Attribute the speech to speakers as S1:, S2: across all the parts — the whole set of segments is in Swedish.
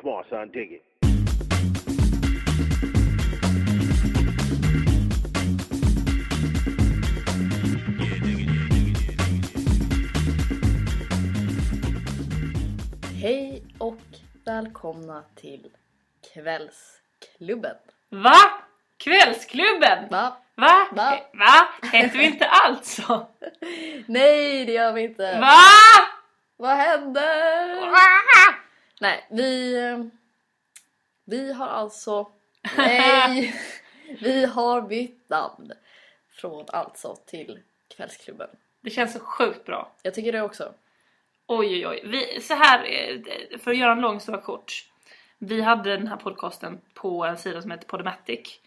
S1: Come on, son, dig it.
S2: Hej och välkomna till Kvällsklubben.
S3: Va? Kvällsklubben?
S2: Va?
S3: Va?
S2: Va?
S3: Eh, Va? Heter vi inte alltså?
S2: Nej, det gör vi inte.
S3: Va?
S2: Vad händer?
S3: Va?
S2: Nej, vi... eh, Vi har alltså... Nej! vi har bytt namn. Från alltså till Kvällsklubben.
S3: Det känns så sjukt bra.
S2: Jag tycker det också.
S3: Oj oj oj. Vi, så här, eh, för att göra en lång historia kort. Vi hade den här podcasten på en sida som heter Podomatic.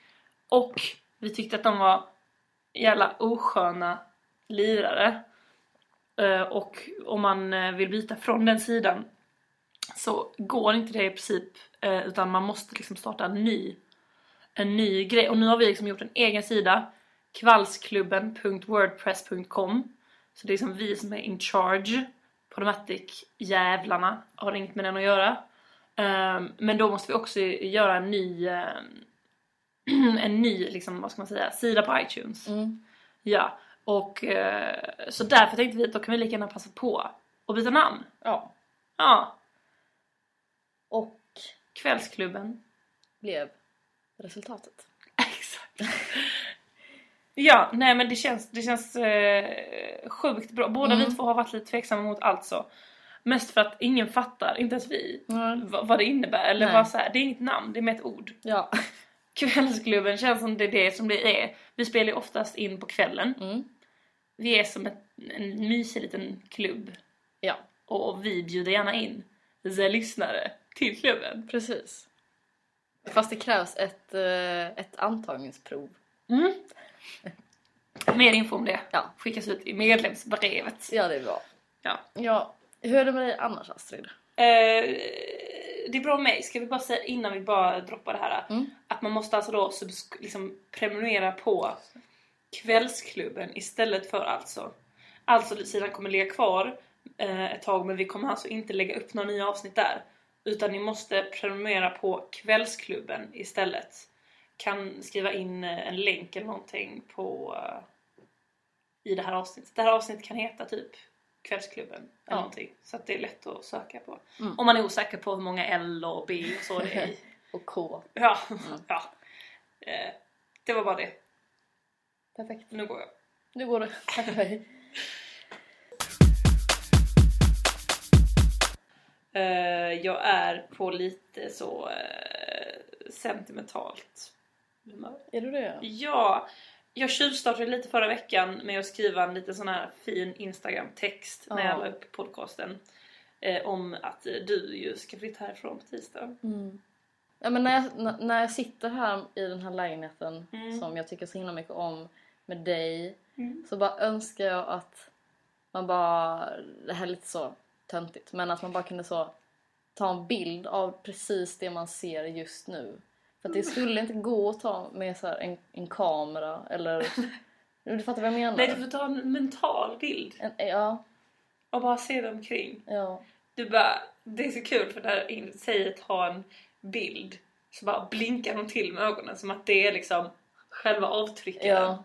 S3: Och vi tyckte att de var jävla osköna lirare. Eh, Och om man eh, vill byta från den sidan så går inte det i princip eh, utan man måste liksom starta en ny, en ny grej. Och nu har vi liksom gjort en egen sida, kvallsklubben.wordpress.com. Så det är liksom vi som är in charge. Podomatic-jävlarna har inget med den att göra. Ehm, men då måste vi också göra en ny, ehm, en ny liksom, vad ska man säga, sida på iTunes.
S2: Mm.
S3: Ja, och eh, så därför tänkte vi att då kan vi lika gärna passa på och byta namn.
S2: Ja.
S3: Ja,
S2: Och
S3: Kvällsklubben.
S2: blev resultatet.
S3: Exakt. ja, nej men det känns, det känns eh, sjukt bra. Båda
S2: Mm.
S3: vi två har varit lite tveksamma mot allt så. Mest för att ingen fattar, inte ens vi,
S2: Mm.
S3: vad, vad det innebär. Eller
S2: Nej.
S3: vad så här, det är inget namn, det är med ett ord.
S2: Ja.
S3: Kvällsklubben känns som det är det som det är. Vi spelar ju oftast in på kvällen.
S2: Mm.
S3: Vi är som ett, en mysig liten klubb.
S2: Ja,
S3: Och vi bjuder gärna in the lyssnare till klubben.
S2: precis. Fast det krävs ett, eh, ett antagningsprov.
S3: Mm. Mer info om det
S2: Ja.
S3: skickas ut i medlemsbrevet.
S2: Ja, det är bra.
S3: Ja.
S2: ja. Hur är det med dig annars Astrid?
S3: Eh, det är bra med mig. Ska vi bara säga innan vi bara droppar det här.
S2: Mm.
S3: Att man måste alltså då subs- liksom prenumerera på kvällsklubben istället för alltså. Alltså sidan kommer ligga kvar eh, ett tag men vi kommer alltså inte lägga upp några nya avsnitt där. Utan ni måste prenumerera på kvällsklubben istället. Kan skriva in eh, en länk eller någonting på eh, i det här avsnittet. Det här avsnittet kan heta typ kvällsklubben eller
S2: Ja.
S3: någonting. Så att det är lätt att söka på.
S2: Mm.
S3: Om man är osäker på hur många L och B och så det är i.
S2: Och K.
S3: Ja,
S2: Mm.
S3: ja. Eh, det var bara det.
S2: Perfekt.
S3: Nu går jag.
S2: Nu går det. Tack och hej.
S3: Eh, jag är på lite så eh, sentimentalt humör.
S2: Är du det?
S3: Ja, jag tjuvstartade lite förra veckan med att skriva en liten sån här fin Instagram-text när jag
S2: Ja.
S3: la upp podcasten. Eh, om att eh, du ju ska flytta härifrån på tisdag.
S2: Mm. Ja, men när, jag, när- när jag sitter här i den här lägenheten
S3: Mm.
S2: som jag tycker så himla mycket om med dig
S3: Mm.
S2: så bara önskar jag att man bara, det här är lite så töntigt, men att man bara kunde så ta en bild av precis det man ser just nu. För att det skulle inte gå att ta med så här en, en kamera eller... Du fattar vad jag menar?
S3: Nej, du får ta en mental bild
S2: en, ja,
S3: och bara se dig omkring.
S2: ja.
S3: Du bara, det är så kul för när in- säger ta en bild så bara blinkar de till med ögonen som att det är liksom själva avtrycket.
S2: Ja,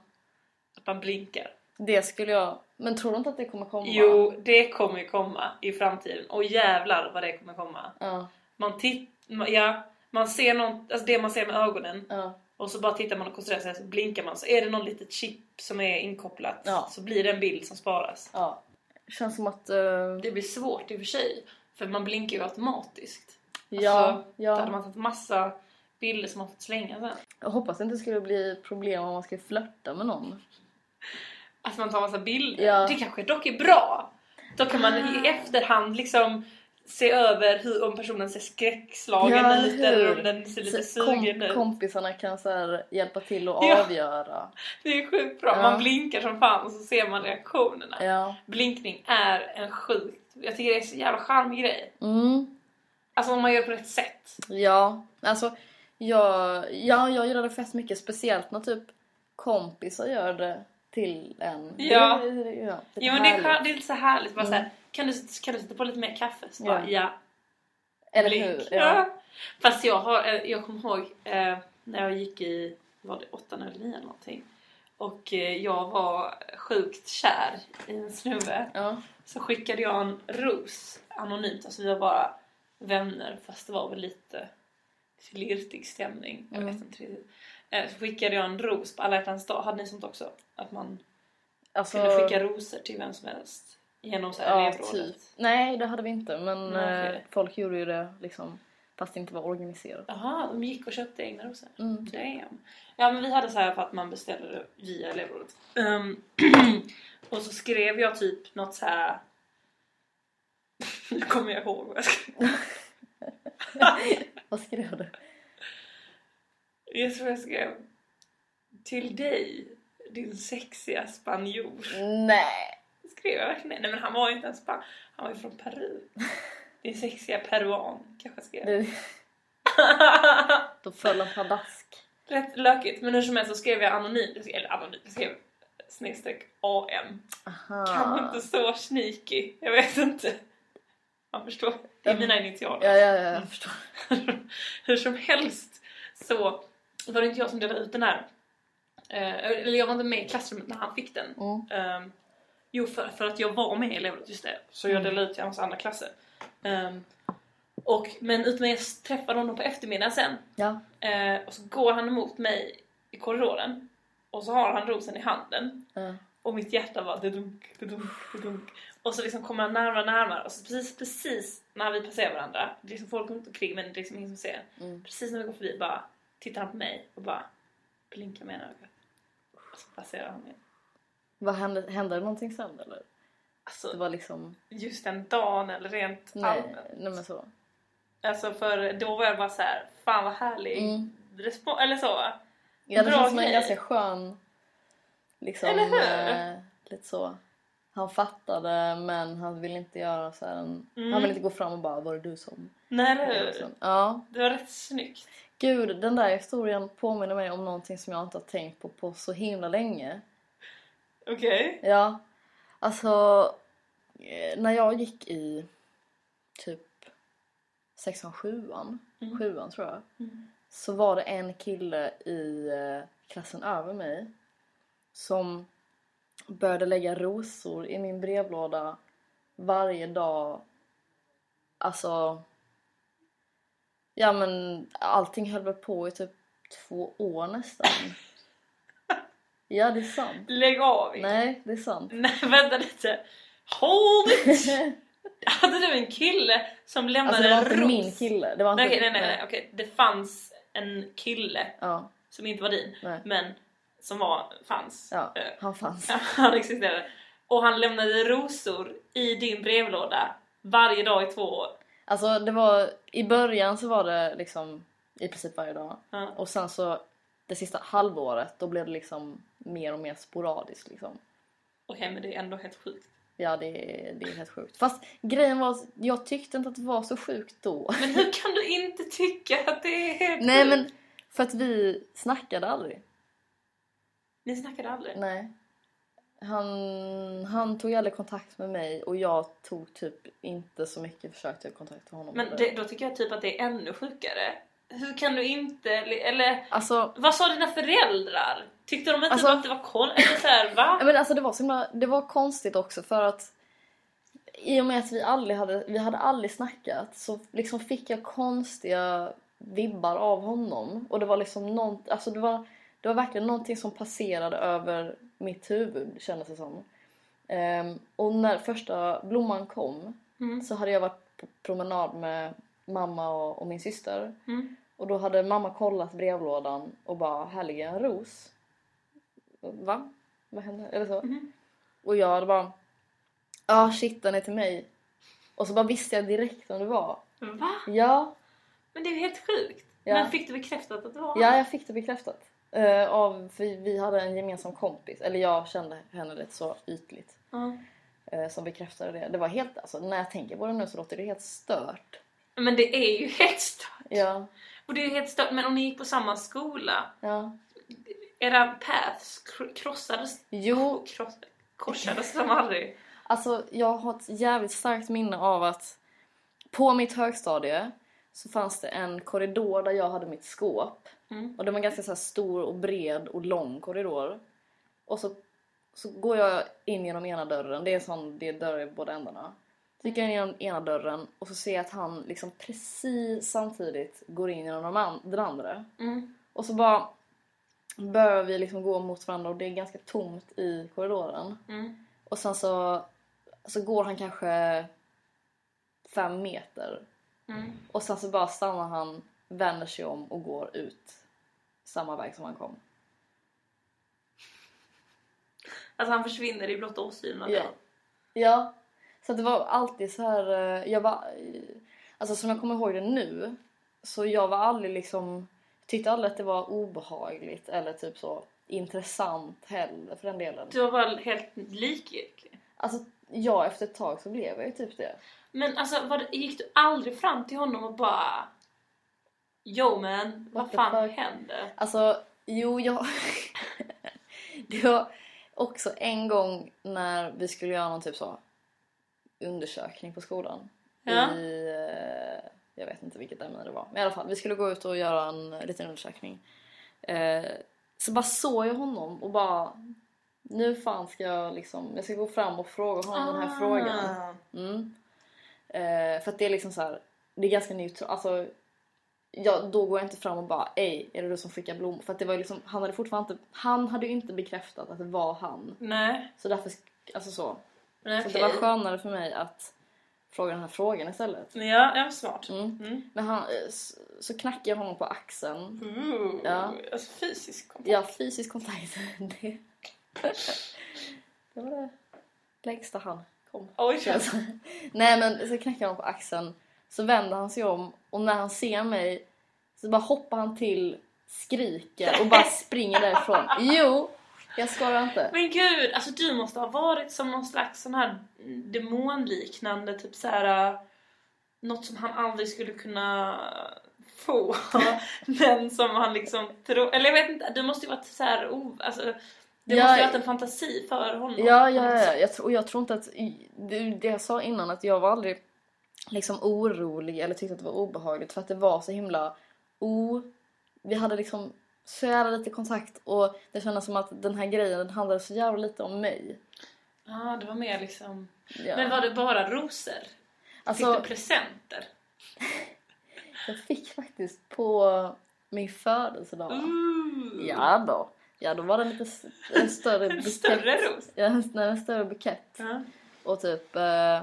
S3: Att man blinkar.
S2: det skulle jag... Men tror du inte att det kommer komma?
S3: Jo, det kommer ju komma i framtiden. Och jävlar vad det kommer komma.
S2: Ja,
S3: Man tittar, ja, man ser någon, alltså det man ser med ögonen
S2: ja,
S3: och så bara tittar man och koncentrerar sig så blinkar man så är det någon litet chip som är inkopplat
S2: Ja.
S3: så blir det en bild som sparas.
S2: ja. Känns som att... eh,
S3: Det blir svårt i och för sig för man blinkar ju automatiskt.
S2: ja,
S3: Alltså, Då hade
S2: ja.
S3: man tagit massa bilder som man fått slänga sen.
S2: Jag hoppas det inte skulle bli problem om man skulle flörta med någon.
S3: Att Alltså, man tar massa bilder.
S2: Ja. Ah.
S3: Det kanske dock är bra! Då kan man i efterhand liksom se över hur, om personen ser skräckslagen
S2: Ja,
S3: ut
S2: hur?
S3: eller om den ser lite
S2: Så kom-
S3: sugen ut.
S2: kompisarna kan så här hjälpa till och
S3: Ja.
S2: avgöra.
S3: Det är sjukt bra.
S2: Ja. Eh.
S3: Man blinkar som fan och så ser man reaktionerna.
S2: Ja.
S3: Blinkning är en sjukt... Jag tycker det är en så jävla charmig grej.
S2: Mm,
S3: Alltså om man gör det på rätt sätt.
S2: ja. Alltså, jag, ja, jag gillar det fett mycket. Speciellt när typ kompisar gör det till en.
S3: Ja.
S2: Det, det, ja, det
S3: Jo men det är,
S2: härligt.
S3: skär, det är lite så härligt. Bara
S2: Mm.
S3: så här, kan, du, kan du sätta på lite mer kaffe? Så
S2: Ja.
S3: bara, ja.
S2: Eller
S3: blick.
S2: hur? Ja.
S3: Ja. Fast jag, har, eh, jag kommer ihåg eh, när jag gick i, var det åttan eller nian någonting? Och eh, jag var sjukt kär i en snubbe.
S2: Ja.
S3: Så skickade jag en ros anonymt, alltså vi var bara vänner fast det var väl lite flirtig stämning. Jag
S2: Mm.
S3: vet inte riktigt. Eh, Så skickade jag en ros på alla hjärtans dag. Hade ni sånt också? Att man
S2: Alltså,
S3: kunde skicka rosor till vem som helst? Genom så här
S2: ja,
S3: elevrådet?
S2: typ. Nej, det hade vi inte. Men
S3: Nej,
S2: eh,
S3: okej.
S2: folk gjorde ju det liksom, fast det inte var organiserat.
S3: Jaha, de gick och köpte egna rosor.
S2: Mm.
S3: Damn. Ja men vi hade så här för att man beställde det via elevrådet. Ehm, och så skrev jag typ något så här. nu kommer jag ihåg vad jag skrev.
S2: Vad skrev du?
S3: Jag tror jag skrev Till dig din sexiga spanjor.
S2: Nej!
S3: Skrev jag verkligen det? Nej men han var ju inte ens span. Han var ju från Peru. Din sexiga peruan kanske jag skrev.
S2: Det, då föll en pladask.
S3: Rätt lökigt men hur som helst så skrev jag anonymt. Eller anonymt. Jag skrev snedstreck AM.
S2: Aha.
S3: Kanske inte så sneaky, jag vet inte. Man förstår, det är mina initialer.
S2: Ja, ja, ja, jag förstår.
S3: Hur som helst så var det inte jag som delade ut den här. Eh, eller jag var inte med i klassrummet när han fick den.
S2: Mm.
S3: Ehm, jo, för, för att jag var med i elevrådet, just det. Så
S2: Mm.
S3: jag delade ut till hans andra klasser. Ehm, och, men ut med jag träffade honom på eftermiddagen sen.
S2: Ja.
S3: Eh, och så går han emot mig i korridoren. Och så har han rosen i handen.
S2: ja.
S3: Och mitt hjärta bara dunk, dunk, dunk. Och så liksom kommer han närmare och närmare och så precis, precis när vi passerar varandra, det är liksom folk runt omkring men det är liksom ingen som ser.
S2: Mm.
S3: Precis när vi går förbi bara tittar han på mig och bara blinkar med ena ögat. Och så passerar han igen.
S2: Vad hände? Hände det någonting sen eller? Det
S3: Alltså
S2: var liksom...
S3: just den dagen eller rent
S2: Nej,
S3: allmänt.
S2: nej men så.
S3: Alltså för då var jag bara så här, fan vad härlig
S2: Mm.
S3: respons, eller så.
S2: Ja, det
S3: Bra
S2: känns som en
S3: grej.
S2: ganska skön... Liksom...
S3: Eller hur?
S2: Eh, lite så. Han fattade men han ville inte göra så här en...
S3: Mm.
S2: Han ville inte gå fram och bara var det du som...
S3: Nej eller
S2: eller
S3: hur?
S2: så. Ja.
S3: Det var rätt snyggt.
S2: Gud, den där historien påminner mig om någonting som jag inte har tänkt på på så himla länge.
S3: Okej.
S2: Ja, alltså eh, när jag gick i typ sexan, sjuan,
S3: Mm.
S2: sjuan tror jag,
S3: Mm.
S2: så var det en kille i eh, klassen över mig som började lägga rosor i min brevlåda varje dag. Alltså, ja men allting höll väl på i typ två år nästan. Ja, det är sant.
S3: Lägg av Ingrid.
S2: Nej, det är sant.
S3: Nej vänta lite. Hold it! Hade du en kille som
S2: Alltså
S3: lämnade
S2: det
S3: en
S2: var inte
S3: ros?
S2: min kille. Det var inte,
S3: Nej, okej, nej, nej, nej, okej. Det fanns en kille
S2: Ja,
S3: som inte var din,
S2: nej.
S3: men som var, fanns.
S2: Ja,
S3: Eh,
S2: han fanns.
S3: han existerade. Och han lämnade rosor i din brevlåda varje dag i två år.
S2: Alltså det var, i början så var det liksom i princip varje dag.
S3: Ja.
S2: Och sen så det sista halvåret då blev det liksom mer och mer sporadiskt liksom.
S3: Okej, men det är ändå helt sjukt.
S2: Ja det, är- det är helt sjukt. Fast grejen var, jag tyckte inte att det var så sjukt då.
S3: Men hur kan du inte tycka att det är helt
S2: Nej
S3: sjukt?
S2: men för att vi snackade aldrig.
S3: Ni snackade aldrig?
S2: Nej. Han, han tog aldrig kontakt med mig och jag tog typ inte så mycket försök till kontakt med honom.
S3: Men
S2: heller.
S3: det, då tycker jag typ att det är ännu sjukare. Hur kan du inte, eller
S2: Alltså,
S3: Vad sa dina föräldrar? Tyckte de inte
S2: Alltså-
S3: att det var konstigt? Eller såhär, va?
S2: ja, men alltså det, var så himla, det var konstigt också för att i och med att vi aldrig hade, vi hade aldrig snackat så liksom fick jag konstiga vibbar av honom. Och det var liksom nånt, alltså det, var, det var verkligen någonting som passerade över mitt huvud kändes det som. Ehm, och när första blomman kom
S3: Mm.
S2: så hade jag varit på promenad med mamma och, och min syster.
S3: Mm.
S2: Och då hade mamma kollat brevlådan och bara här ligger en ros. Va? Vad hände? Eller så.
S3: Mhm.
S2: Och jag hade bara ja shit den är till mig. Och så bara visste jag direkt om det var.
S3: Va?
S2: Ja,
S3: Men det är ju helt sjukt.
S2: Ja.
S3: Men fick du bekräftat att det var
S2: ja
S3: han?
S2: jag fick det bekräftat. Eh, av, för vi hade en gemensam kompis, eller jag kände henne rätt så ytligt.
S3: Ja.
S2: eh, som bekräftade det. Det var helt, alltså när jag tänker på det nu så låter det helt stört.
S3: Men det är ju helt stört.
S2: Ja,
S3: Och det är ju helt stört. Men om ni gick på samma skola,
S2: ja.
S3: era paths kr- krossades, Oh,
S2: Jo,
S3: kross, korsades de aldrig?
S2: Alltså jag har ett jävligt starkt minne av att På mitt högstadie så fanns det en korridor där jag hade mitt skåp.
S3: Mm.
S2: Och det var en ganska så här stor och bred och lång korridor. Och så, så går jag in genom ena dörren. Det är en sån, det är dörr i båda ändarna. Så gick jag in genom ena dörren och så ser jag att han liksom precis samtidigt går in genom de an- den andra.
S3: Mm.
S2: Och så bara börjar vi liksom gå mot varandra och det är ganska tomt i korridoren.
S3: Mm.
S2: Och sen så, så går han kanske fem meter.
S3: Mm.
S2: Och sen så bara stannar han, vänder sig om och går ut samma väg som han kom.
S3: Alltså han försvinner i blotta åsynen av
S2: Ja.
S3: dig.
S2: Ja. Så att det var alltid så här... eh, Jag var, alltså som jag kommer ihåg det nu, så jag var aldrig liksom... Tyckte aldrig att det var obehagligt eller typ så intressant heller för den delen.
S3: Du var bara helt lik egentligen.
S2: Alltså, ja, efter ett tag så blev jag ju typ det.
S3: Men alltså var det, gick du aldrig fram till honom och bara Yo man, vad
S2: What the
S3: fan
S2: fuck?"
S3: hände?
S2: Alltså, jo, jag... det var också en gång när vi skulle göra någon typ så undersökning på skolan.
S3: Ja.
S2: I, eh, jag vet inte vilket ämne det var. Men i alla fall, vi skulle gå ut och göra en liten undersökning. Eh, så bara såg jag honom och bara... Nu fan ska jag liksom... Jag ska gå fram och fråga honom den
S3: Ah.
S2: här frågan. Mm. Eh, för att det är liksom så här, det är ganska neutralt. Alltså, ja, då går jag inte fram och bara ej, är det du som skickar blommor? För att det var ju liksom, han hade fortfarande inte, han hade ju inte bekräftat att det var han.
S3: Nej,
S2: Så därför, sk- alltså så.
S3: nej
S2: Så
S3: okej.
S2: det var skönare för mig att fråga den här frågan istället.
S3: Ja, ja smart.
S2: Mm.
S3: Mm.
S2: Men han, eh, s- så knackade jag honom på axeln.
S3: Ooh,
S2: Ja.
S3: Alltså fysisk kontakt.
S2: Ja, fysisk kontakt. Det, det var det längsta han kom.
S3: Oj,
S2: Så jag sa- Alltså, Nej men så knackar jag honom på axeln Så vänder han sig om och när han ser mig Så bara hoppar han till Skriker och bara springer därifrån Jo, jag skojar inte
S3: Men gud, alltså du måste ha varit som någon slags sån här demonliknande, typ så här. äh, Något som han aldrig skulle kunna få, men som han liksom tror... Eller jag vet inte, du måste ju varit så här, oh, alltså, Det
S2: Jag-
S3: måste ju ha varit en fantasi för honom.
S2: Ja, ja, ja. Jag, tror- och jag tror inte att det, det jag sa innan att jag var aldrig liksom orolig eller tyckte att det var obehagligt för att det var så himla o... Vi hade liksom så jävla lite kontakt och det kändes som att den här grejen den handlade så jävla lite om mig.
S3: Ja, det var mer liksom...
S2: Ja. Alltså-
S3: Men var det bara rosor? Fick du presenter?
S2: Jag fick faktiskt på min födelsedag.
S3: Mm. Ooh.
S2: Ja då. Ja då var det lite s- en större
S3: En
S2: bukett.
S3: större ros?
S2: Ja, en, nej, en större bukett.
S3: Ja.
S2: Och typ eh,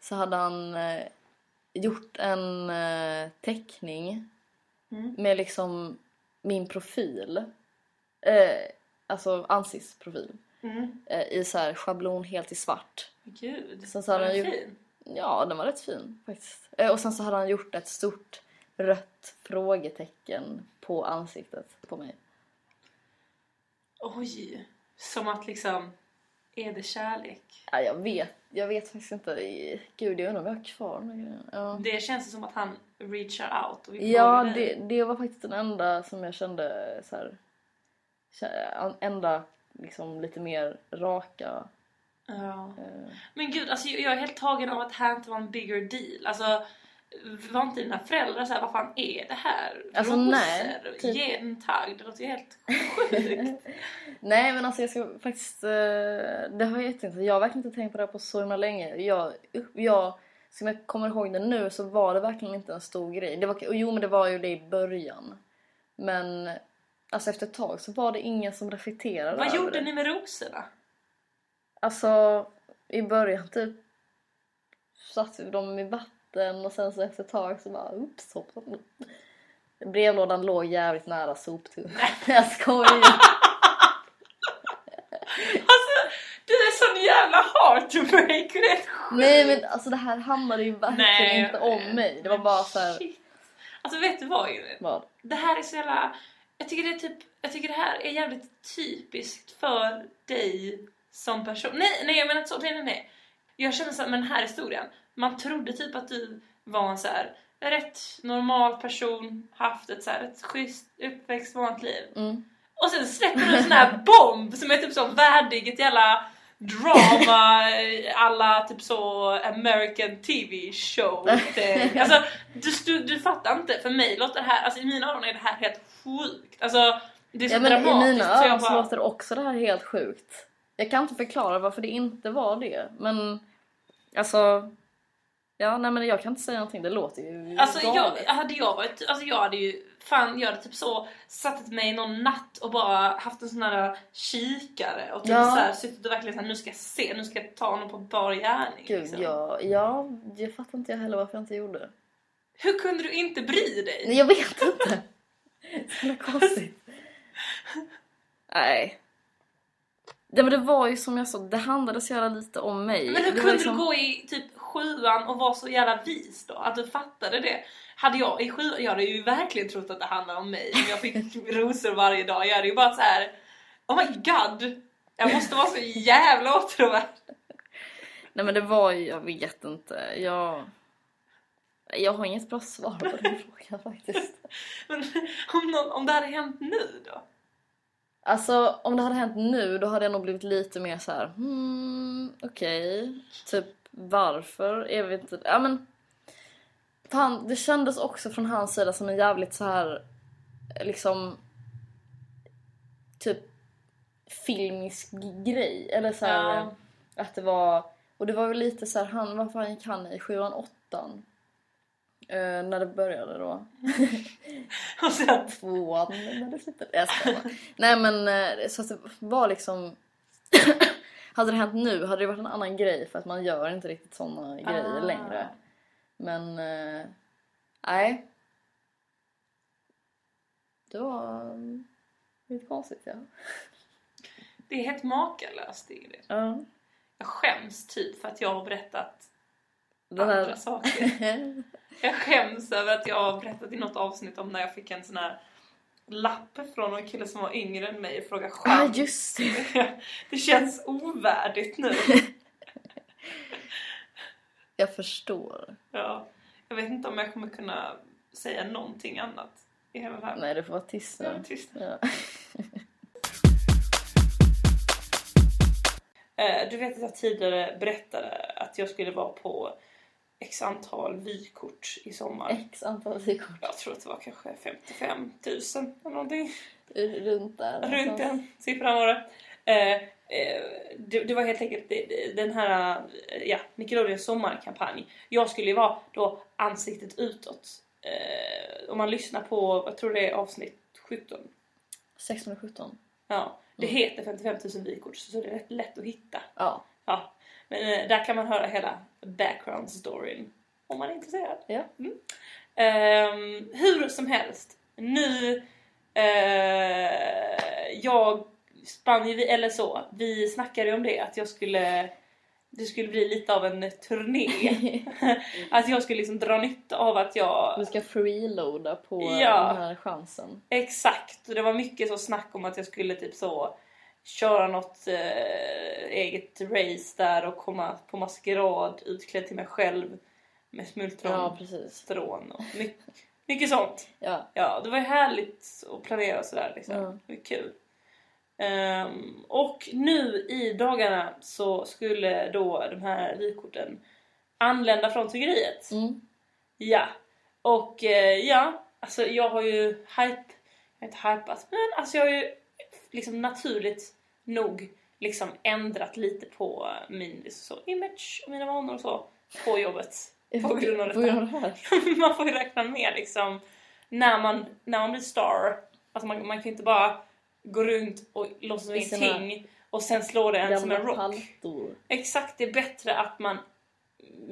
S2: så hade han eh, gjort en eh, teckning
S3: Mm.
S2: med liksom min profil. Eh, alltså ansiktsprofil.
S3: Mm.
S2: Eh, I så här schablon helt i svart.
S3: Gud,
S2: Sen så har
S3: var
S2: han
S3: den
S2: ju-
S3: fin?
S2: Ja, den var rätt fin faktiskt. Eh, Och sen så hade han gjort ett stort rött frågetecken på ansiktet på mig.
S3: Oj! Som att liksom, är det kärlek?
S2: Ja, jag vet, jag vet faktiskt inte. Gud, jag undrar om jag har kvar den här grejen. Ja,
S3: Det känns som att han reachar out och vill
S2: ja
S3: fråga dig.
S2: det, det var faktiskt den enda som jag kände så här, kä- enda liksom lite mer raka.
S3: Ja.
S2: eh,
S3: Men gud, alltså, jag är helt tagen av att det här inte var en bigger deal. Alltså, var inte dina föräldrar såhär, vad fan är det här?
S2: Alltså, nej, typ.
S3: Ge en tagg, det låter ju helt sjukt.
S2: Nej men alltså jag ska faktiskt... eh, Det har jag jätteintressant. Jag har verkligen inte tänkt på det här på så himla länge. Jag, jag, som jag kommer ihåg det nu så var det verkligen inte en stor grej. Det var, och jo men det var ju det i början. Men alltså efter ett tag så var det ingen som reflekterade
S3: vad
S2: över
S3: gjorde
S2: det.
S3: ni med rosorna?
S2: Alltså i början typ satte vi dem i vatten och sen så efter ett tag så bara oops hoppsan. Brevlådan låg jävligt nära soptunnan. Jag skojar!
S3: Alltså, du är sån jävla heartbreaker, det är helt sjukt.
S2: Nej men alltså det här handlade ju verkligen
S3: Nej,
S2: inte om mig. Det var bara så här,
S3: Shit. Alltså vet du vad Ingrid?
S2: vad?
S3: Det här är så jävla... Jag tycker, det är typ, jag tycker det här är jävligt typiskt för dig som person. Nej, nej jag menar inte så. Nej, nej, nej. Jag känner så här, med den här historien, man trodde typ att du var en så här rätt normal person, haft ett så här rätt schysst uppväxt, vanligt liv.
S2: Mm.
S3: Och sen släpper du en sån här bomb som är typ så värdig ett jävla drama eh, alla typ så American TV show thing. Alltså du, du, du fattar inte, för mig låter det här, alltså i mina öron är det här helt sjukt. Alltså det är så
S2: Ja, men I
S3: dramatiskt
S2: mina
S3: så jag
S2: öron så
S3: bara,
S2: låter också det här helt sjukt. Jag kan inte förklara varför det inte var det. Men alltså... Ja, nej men jag kan inte säga någonting. Det låter ju
S3: Alltså jag,
S2: galet.
S3: hade jag varit, alltså jag hade ju fan jag hade typ så satt mig någon natt och bara haft en sån här kikare och typ
S2: Ja.
S3: så här, suttit och verkligen såhär nu ska jag se, nu ska jag ta honom på bar gärning.
S2: Gud,
S3: liksom.
S2: ja, ja, jag fattar inte jag heller varför jag inte gjorde det.
S3: Hur kunde du inte bry dig?
S2: Nej, jag vet inte. Så jävla konstigt. Nej. Ja, men det var ju som jag sa, det handlade så jävla lite om mig.
S3: Men
S2: det
S3: hur
S2: var
S3: kunde
S2: liksom-
S3: du gå i typ sjuan och vara så jävla vis då? Att du fattade det? Hade jag i sjuan, jag hade ju verkligen trott att det handlade om mig. Jag fick rosor varje dag. Jag hade ju bara så här. Oh my god! Jag måste vara så jävla åtråvärd.
S2: Nej men det var ju, jag vet inte. Jag, jag har inget bra svar på den frågan faktiskt.
S3: Men om, någon, om det hade hänt nu då?
S2: Alltså om det hade hänt nu då hade jag nog blivit lite mer så här. hmm, okej. Typ varför? Jag vet inte. Ja men. Fan, det kändes också från hans sida som en jävligt så här liksom typ filmisk grej. Eller så här, eh,
S3: Ja.
S2: att det var... Och det var väl lite så här, han, vad fan gick han i? Sjuan, åttan? Eh, när det började då.
S3: Och sen,
S2: Tvåan när det slutade. Jag skojar bara. Nej men eh, så att det var liksom... hade det hänt nu hade det varit en annan grej för att man gör inte riktigt såna grejer
S3: Ah.
S2: längre. Men... eh, Nej. Det var eh, lite konstigt ja.
S3: det är helt makalöst Ingrid.
S2: Ja.
S3: Jag skäms typ för att jag har berättat
S2: Den
S3: andra
S2: här...
S3: saker. Jag skäms över att jag har berättat i något avsnitt om när jag fick en sån här lapp från någon kille som var yngre än mig och frågade
S2: ah,
S3: chans.
S2: just det.
S3: Det känns ovärdigt nu.
S2: Jag förstår.
S3: Ja. Jag vet inte om jag kommer kunna säga någonting annat i hela det här.
S2: Nej, det får vara tyst
S3: Jag är
S2: nu.
S3: tyst.
S2: Ja.
S3: Eh, Du vet att jag tidigare berättade att jag skulle vara på x antal vykort i sommar.
S2: X antal vykort
S3: Jag tror att det var kanske 55 000 eller någonting.
S2: runt där.
S3: Runt
S2: någonstans.
S3: den siffran var det. Eh, eh, det, det var helt enkelt det- det- den här eh, ja, Nickelodeons sommarkampanj. Jag skulle ju vara då ansiktet utåt. Eh, om man lyssnar på, jag tror det är avsnitt 17.
S2: 617.
S3: Ja, det
S2: Mm.
S3: heter 55 000 vykort så så det är rätt lätt att hitta.
S2: Ja.
S3: Ja, men eh, där kan man höra hela background storyn om man är intresserad.
S2: Ja.
S3: Mm. Ehm, hur som helst, nu... eh, jag spann ju, vi- eller så, vi snackade ju om det att jag skulle... Det skulle bli lite av en turné. att jag skulle liksom dra nytta av att jag...
S2: Du ska freeloada på
S3: Ja.
S2: den här chansen.
S3: Exakt, och det var mycket så snack om att jag skulle typ så köra något eh, eget race där och komma på maskerad utklädd till mig själv med
S2: Ja,
S3: smultronstrån
S2: precis.
S3: och my- mycket sånt.
S2: Ja.
S3: Ja, det var ju härligt att planera och sådär liksom.
S2: Mm.
S3: Det var kul. Ehm, och nu i dagarna så skulle då de här vykorten anlända från tryckeriet.
S2: Mm.
S3: Ja, och eh, ja, alltså jag har ju hype, jag har inte hypat, men alltså jag har ju liksom naturligt nog liksom ändrat lite på min liksom så, image och mina vanor och så på jobbet. På grund av
S2: På grund av det här.
S3: man får ju räkna med liksom när man, när man blir star, alltså man, man kan ju inte bara gå runt och låtsas som
S2: I sina
S3: ingenting och sen slår det en som en
S2: Gamla
S3: rock.
S2: paltor.
S3: Exakt, det är bättre att man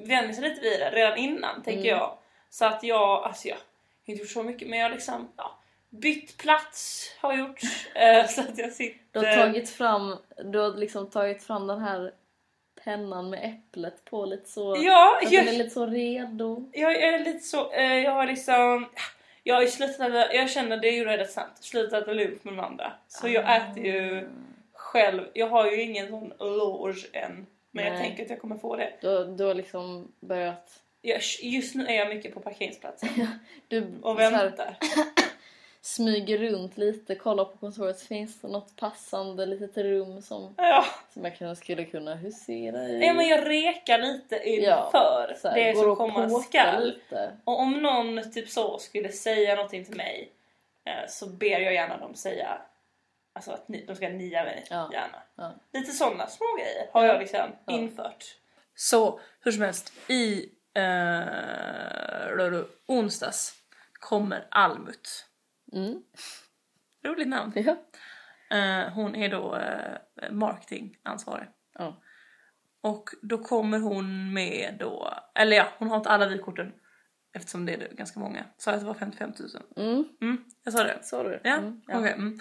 S3: vänjer sig lite vid det redan innan, tänker
S2: Mm.
S3: jag. Så att jag, alltså jag har inte gjort så mycket, men jag har liksom ja, bytt plats har jag gjort. eh, så att jag sitter...
S2: Du har tagit fram, du har liksom tagit fram den här pennan med äpplet på lite så.
S3: Ja,
S2: Att
S3: jag,
S2: den är lite så redo.
S3: jag är lite så, eh, jag har liksom... Jag har ju slutat, jag känner det är ju rätt sant, slutat äta lunch med de andra. Så
S2: Ah.
S3: jag äter ju själv, jag har ju ingen sån loge än. Men jag
S2: Nej.
S3: tänker att jag kommer få det.
S2: Du, har- du har liksom börjat...
S3: Jag, just nu är jag mycket på parkeringsplatsen
S2: Du
S3: och
S2: så här-
S3: väntar.
S2: smyger runt lite, kollar på kontoret. Finns det något passande litet rum som,
S3: Ja.
S2: som jag kanske skulle kunna husera i?
S3: ja men jag rekar lite
S2: Ja,
S3: inför
S2: Så här,
S3: det
S2: går
S3: som
S2: och
S3: komma
S2: påkar
S3: skall.
S2: Lite.
S3: Och om någon typ så skulle säga någonting till mig eh, så ber jag gärna dem säga alltså att ni, de ska nia mig
S2: Ja.
S3: gärna.
S2: Ja.
S3: Lite sådana små grejer har jag liksom
S2: Ja.
S3: infört. Så hur som helst, i eh, onsdags kommer Almut.
S2: Mm.
S3: Roligt namn.
S2: Ja.
S3: Eh, hon är då eh, marketingansvarig.
S2: Ja.
S3: Och då kommer hon med då, eller ja, hon har inte alla vykorten eftersom det är ganska många. Sa jag att det var 55 000?
S2: Mm.
S3: Mm, jag sa det.
S2: Sa du?
S3: Ja,
S2: Mm.
S3: okej. Mm.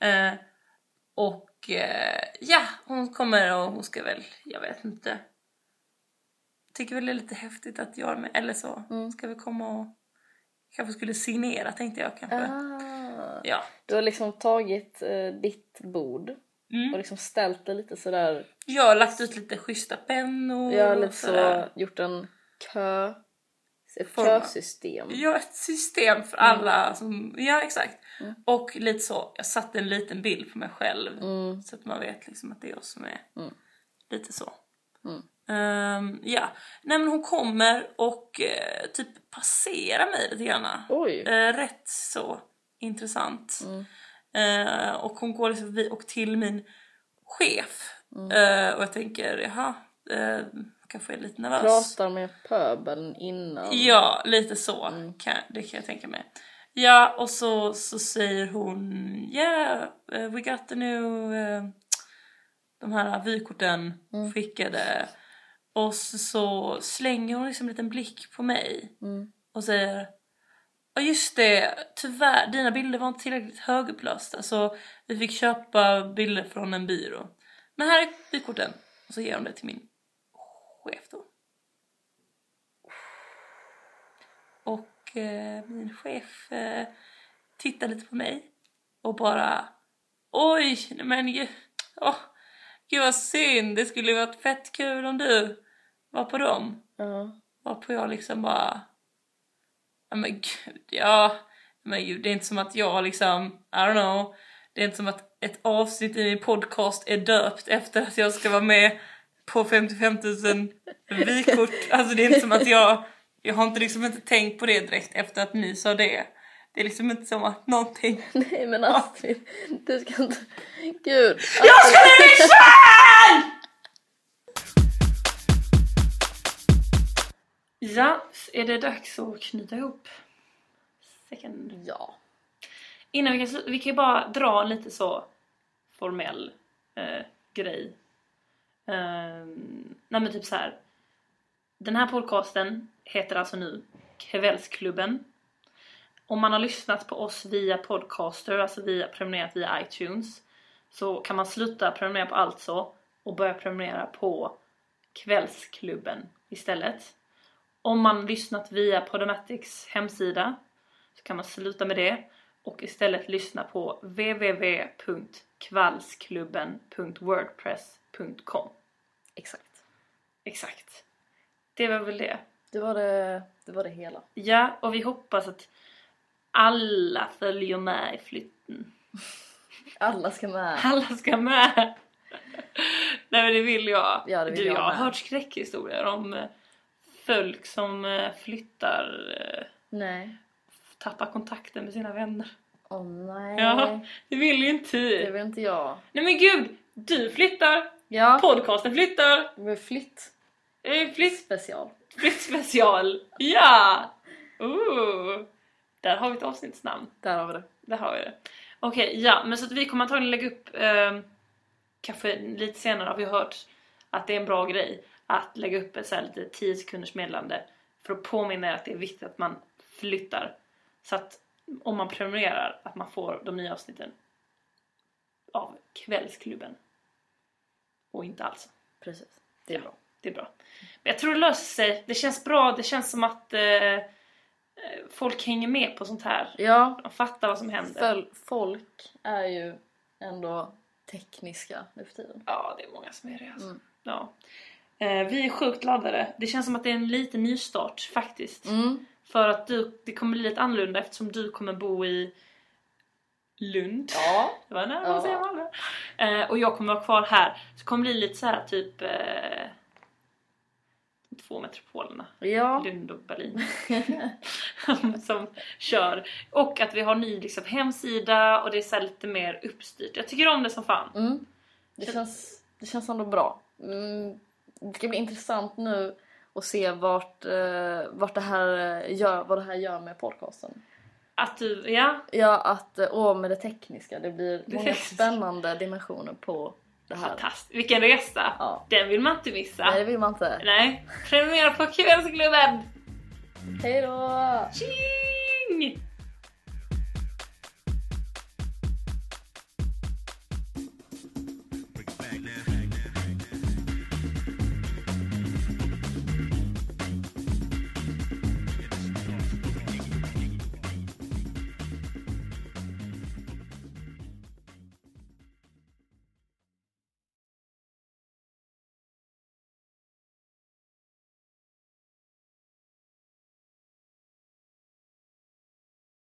S3: Eh, och eh, ja, hon kommer och hon ska väl, jag vet inte. Tycker väl det är lite häftigt att jag är med, eller så.
S2: Mm.
S3: Ska vi komma och kanske skulle signera tänkte jag kanske.
S2: Ah.
S3: Ja.
S2: Du har liksom tagit eh, ditt bord och
S3: Mm.
S2: liksom ställt det lite sådär.
S3: Jag har lagt ut lite schyssta pennor
S2: Jag har
S3: och
S2: lite så
S3: Mm. sådär.
S2: gjort en kö, ett
S3: Format.
S2: kösystem.
S3: Ja, ett system för
S2: Mm.
S3: alla som, ja exakt.
S2: Mm.
S3: Och lite så, jag satte en liten bild på mig själv.
S2: Mm.
S3: Så att man vet liksom att det är jag som är
S2: Mm.
S3: lite så.
S2: Mm.
S3: Ehm, ja, nej men hon kommer och eh, typ passerar mig lite grann.
S2: Oj!
S3: Eh, rätt så intressant.
S2: Mm.
S3: Eh, och hon går liksom förbi och till min chef.
S2: Mm.
S3: Eh, och jag tänker, jaha, uh, kanske är lite nervös.
S2: Pratar med pöbeln innan.
S3: Ja, lite så.
S2: Mm.
S3: Kan, det kan jag tänka mig. Ja, och så, så säger hon Yeah, eh, we got the new... eh, de här vykorten
S2: Mm.
S3: skickade. Och så, så slänger hon liksom en liten blick på mig
S2: Mm.
S3: och säger Ja just det, tyvärr, dina bilder var inte tillräckligt högupplösta så vi fick köpa bilder från en byrå. Men här är vykorten. Och så ger hon det till min chef då. Och eh, min chef eh, tittar lite på mig och bara Oj, nej men gud, åh, gud vad synd, det skulle ju varit fett kul om du var på dem.
S2: Ja.
S3: Varpå jag liksom bara... Ja men gud, ja. Men gud, det är inte som att jag liksom, I don't know. Det är inte som att ett avsnitt i min podcast är döpt efter att jag ska vara med på 55 000 vykort. Alltså det är inte som att jag, jag har inte liksom inte tänkt på det direkt efter att ni sa det. Det är liksom inte som att någonting...
S2: Nej men Astrid, du ska inte... Gud! Alltså,
S3: Jag ska bli min kär! Ja, är det dags att knyta ihop säcken?
S2: Ja.
S3: Innan vi kan sluta, vi kan ju bara dra en lite så formell eh, grej. Eh, nej men typ så här. Den här podcasten heter alltså nu Kvällsklubben. Om man har lyssnat på oss via podcaster, alltså via, prenumererat via iTunes, så kan man sluta prenumerera på Alltså och börja prenumerera på Kvällsklubben istället. Om man lyssnat via Podomatics hemsida så kan man sluta med det och istället lyssna på www.kvallsklubben.wordpress.com
S2: Exakt.
S3: Exakt. Det var väl det.
S2: Det var det, det, var det hela.
S3: Ja, och vi hoppas att alla följer med i flytten.
S2: Alla ska med.
S3: Alla ska med! Nej men det vill jag.
S2: Ja, det vill
S3: du,
S2: jag
S3: jag har
S2: med.
S3: hört skräckhistorier om eh, folk som eh, flyttar, eh,
S2: Nej.
S3: tappar kontakten med sina vänner.
S2: Åh nej.
S3: Ja, det vill ju inte
S2: Det
S3: vi.
S2: vill inte jag.
S3: Nej men gud! Du flyttar!
S2: Ja.
S3: Podcasten flyttar!
S2: Det blir flytt
S3: Eh, Flytt,
S2: special.
S3: flytt special! Ja! Ooh. Där har vi ett avsnittsnamn.
S2: Där har vi det.
S3: Där har vi det. Okej, ja, men så att vi kommer antagligen lägga upp eh, kanske lite senare har vi hört att det är en bra grej att lägga upp ett så här lite 10 sekunders meddelande för att påminna er att det är viktigt att man flyttar så att om man prenumererar att man får de nya avsnitten av Kvällsklubben och inte alls.
S2: Precis. Det är
S3: Ja.
S2: bra.
S3: Det är bra. Men jag tror det löser sig. Det känns bra. Det känns som att eh, eh, folk hänger med på sånt här.
S2: Ja.
S3: De fattar vad som händer.
S2: Föl- folk är ju ändå tekniska nu för tiden.
S3: Ja, det är många som är det. Alltså.
S2: Mm.
S3: Ja. Eh, vi är sjukt laddade. Det känns som att det är en liten
S2: Mm.
S3: Mm. nystart faktiskt. För att du, det kommer bli lite annorlunda eftersom du kommer bo i Lund.
S2: Ja.
S3: Det var nära
S2: Ja.
S3: att säga Malmö. Eh, och jag kommer vara kvar här. Så det kommer bli lite så här typ... Eh, två metropolerna.
S2: Ja.
S3: Lund och Berlin. som kör. Och att vi har ny liksom, hemsida och det är så här lite mer uppstyrt. Jag tycker om det som fan.
S2: Mm. Det, känns, det känns ändå bra. Mm. Det ska bli intressant nu att se vart, eh, vart det här eh, gör, vad det här gör med podcasten.
S3: Att du, ja.
S2: Ja, att eh, och med det tekniska. Det blir
S3: Det
S2: många
S3: tekniska.
S2: spännande dimensioner på det här.
S3: Fantastiskt. Vilken resa.
S2: Ja.
S3: Den vill man inte missa.
S2: Nej, det
S3: Nej.
S2: vill man inte.
S3: Prenumerera på QX-klubben.
S2: Hej då!
S3: Cheers!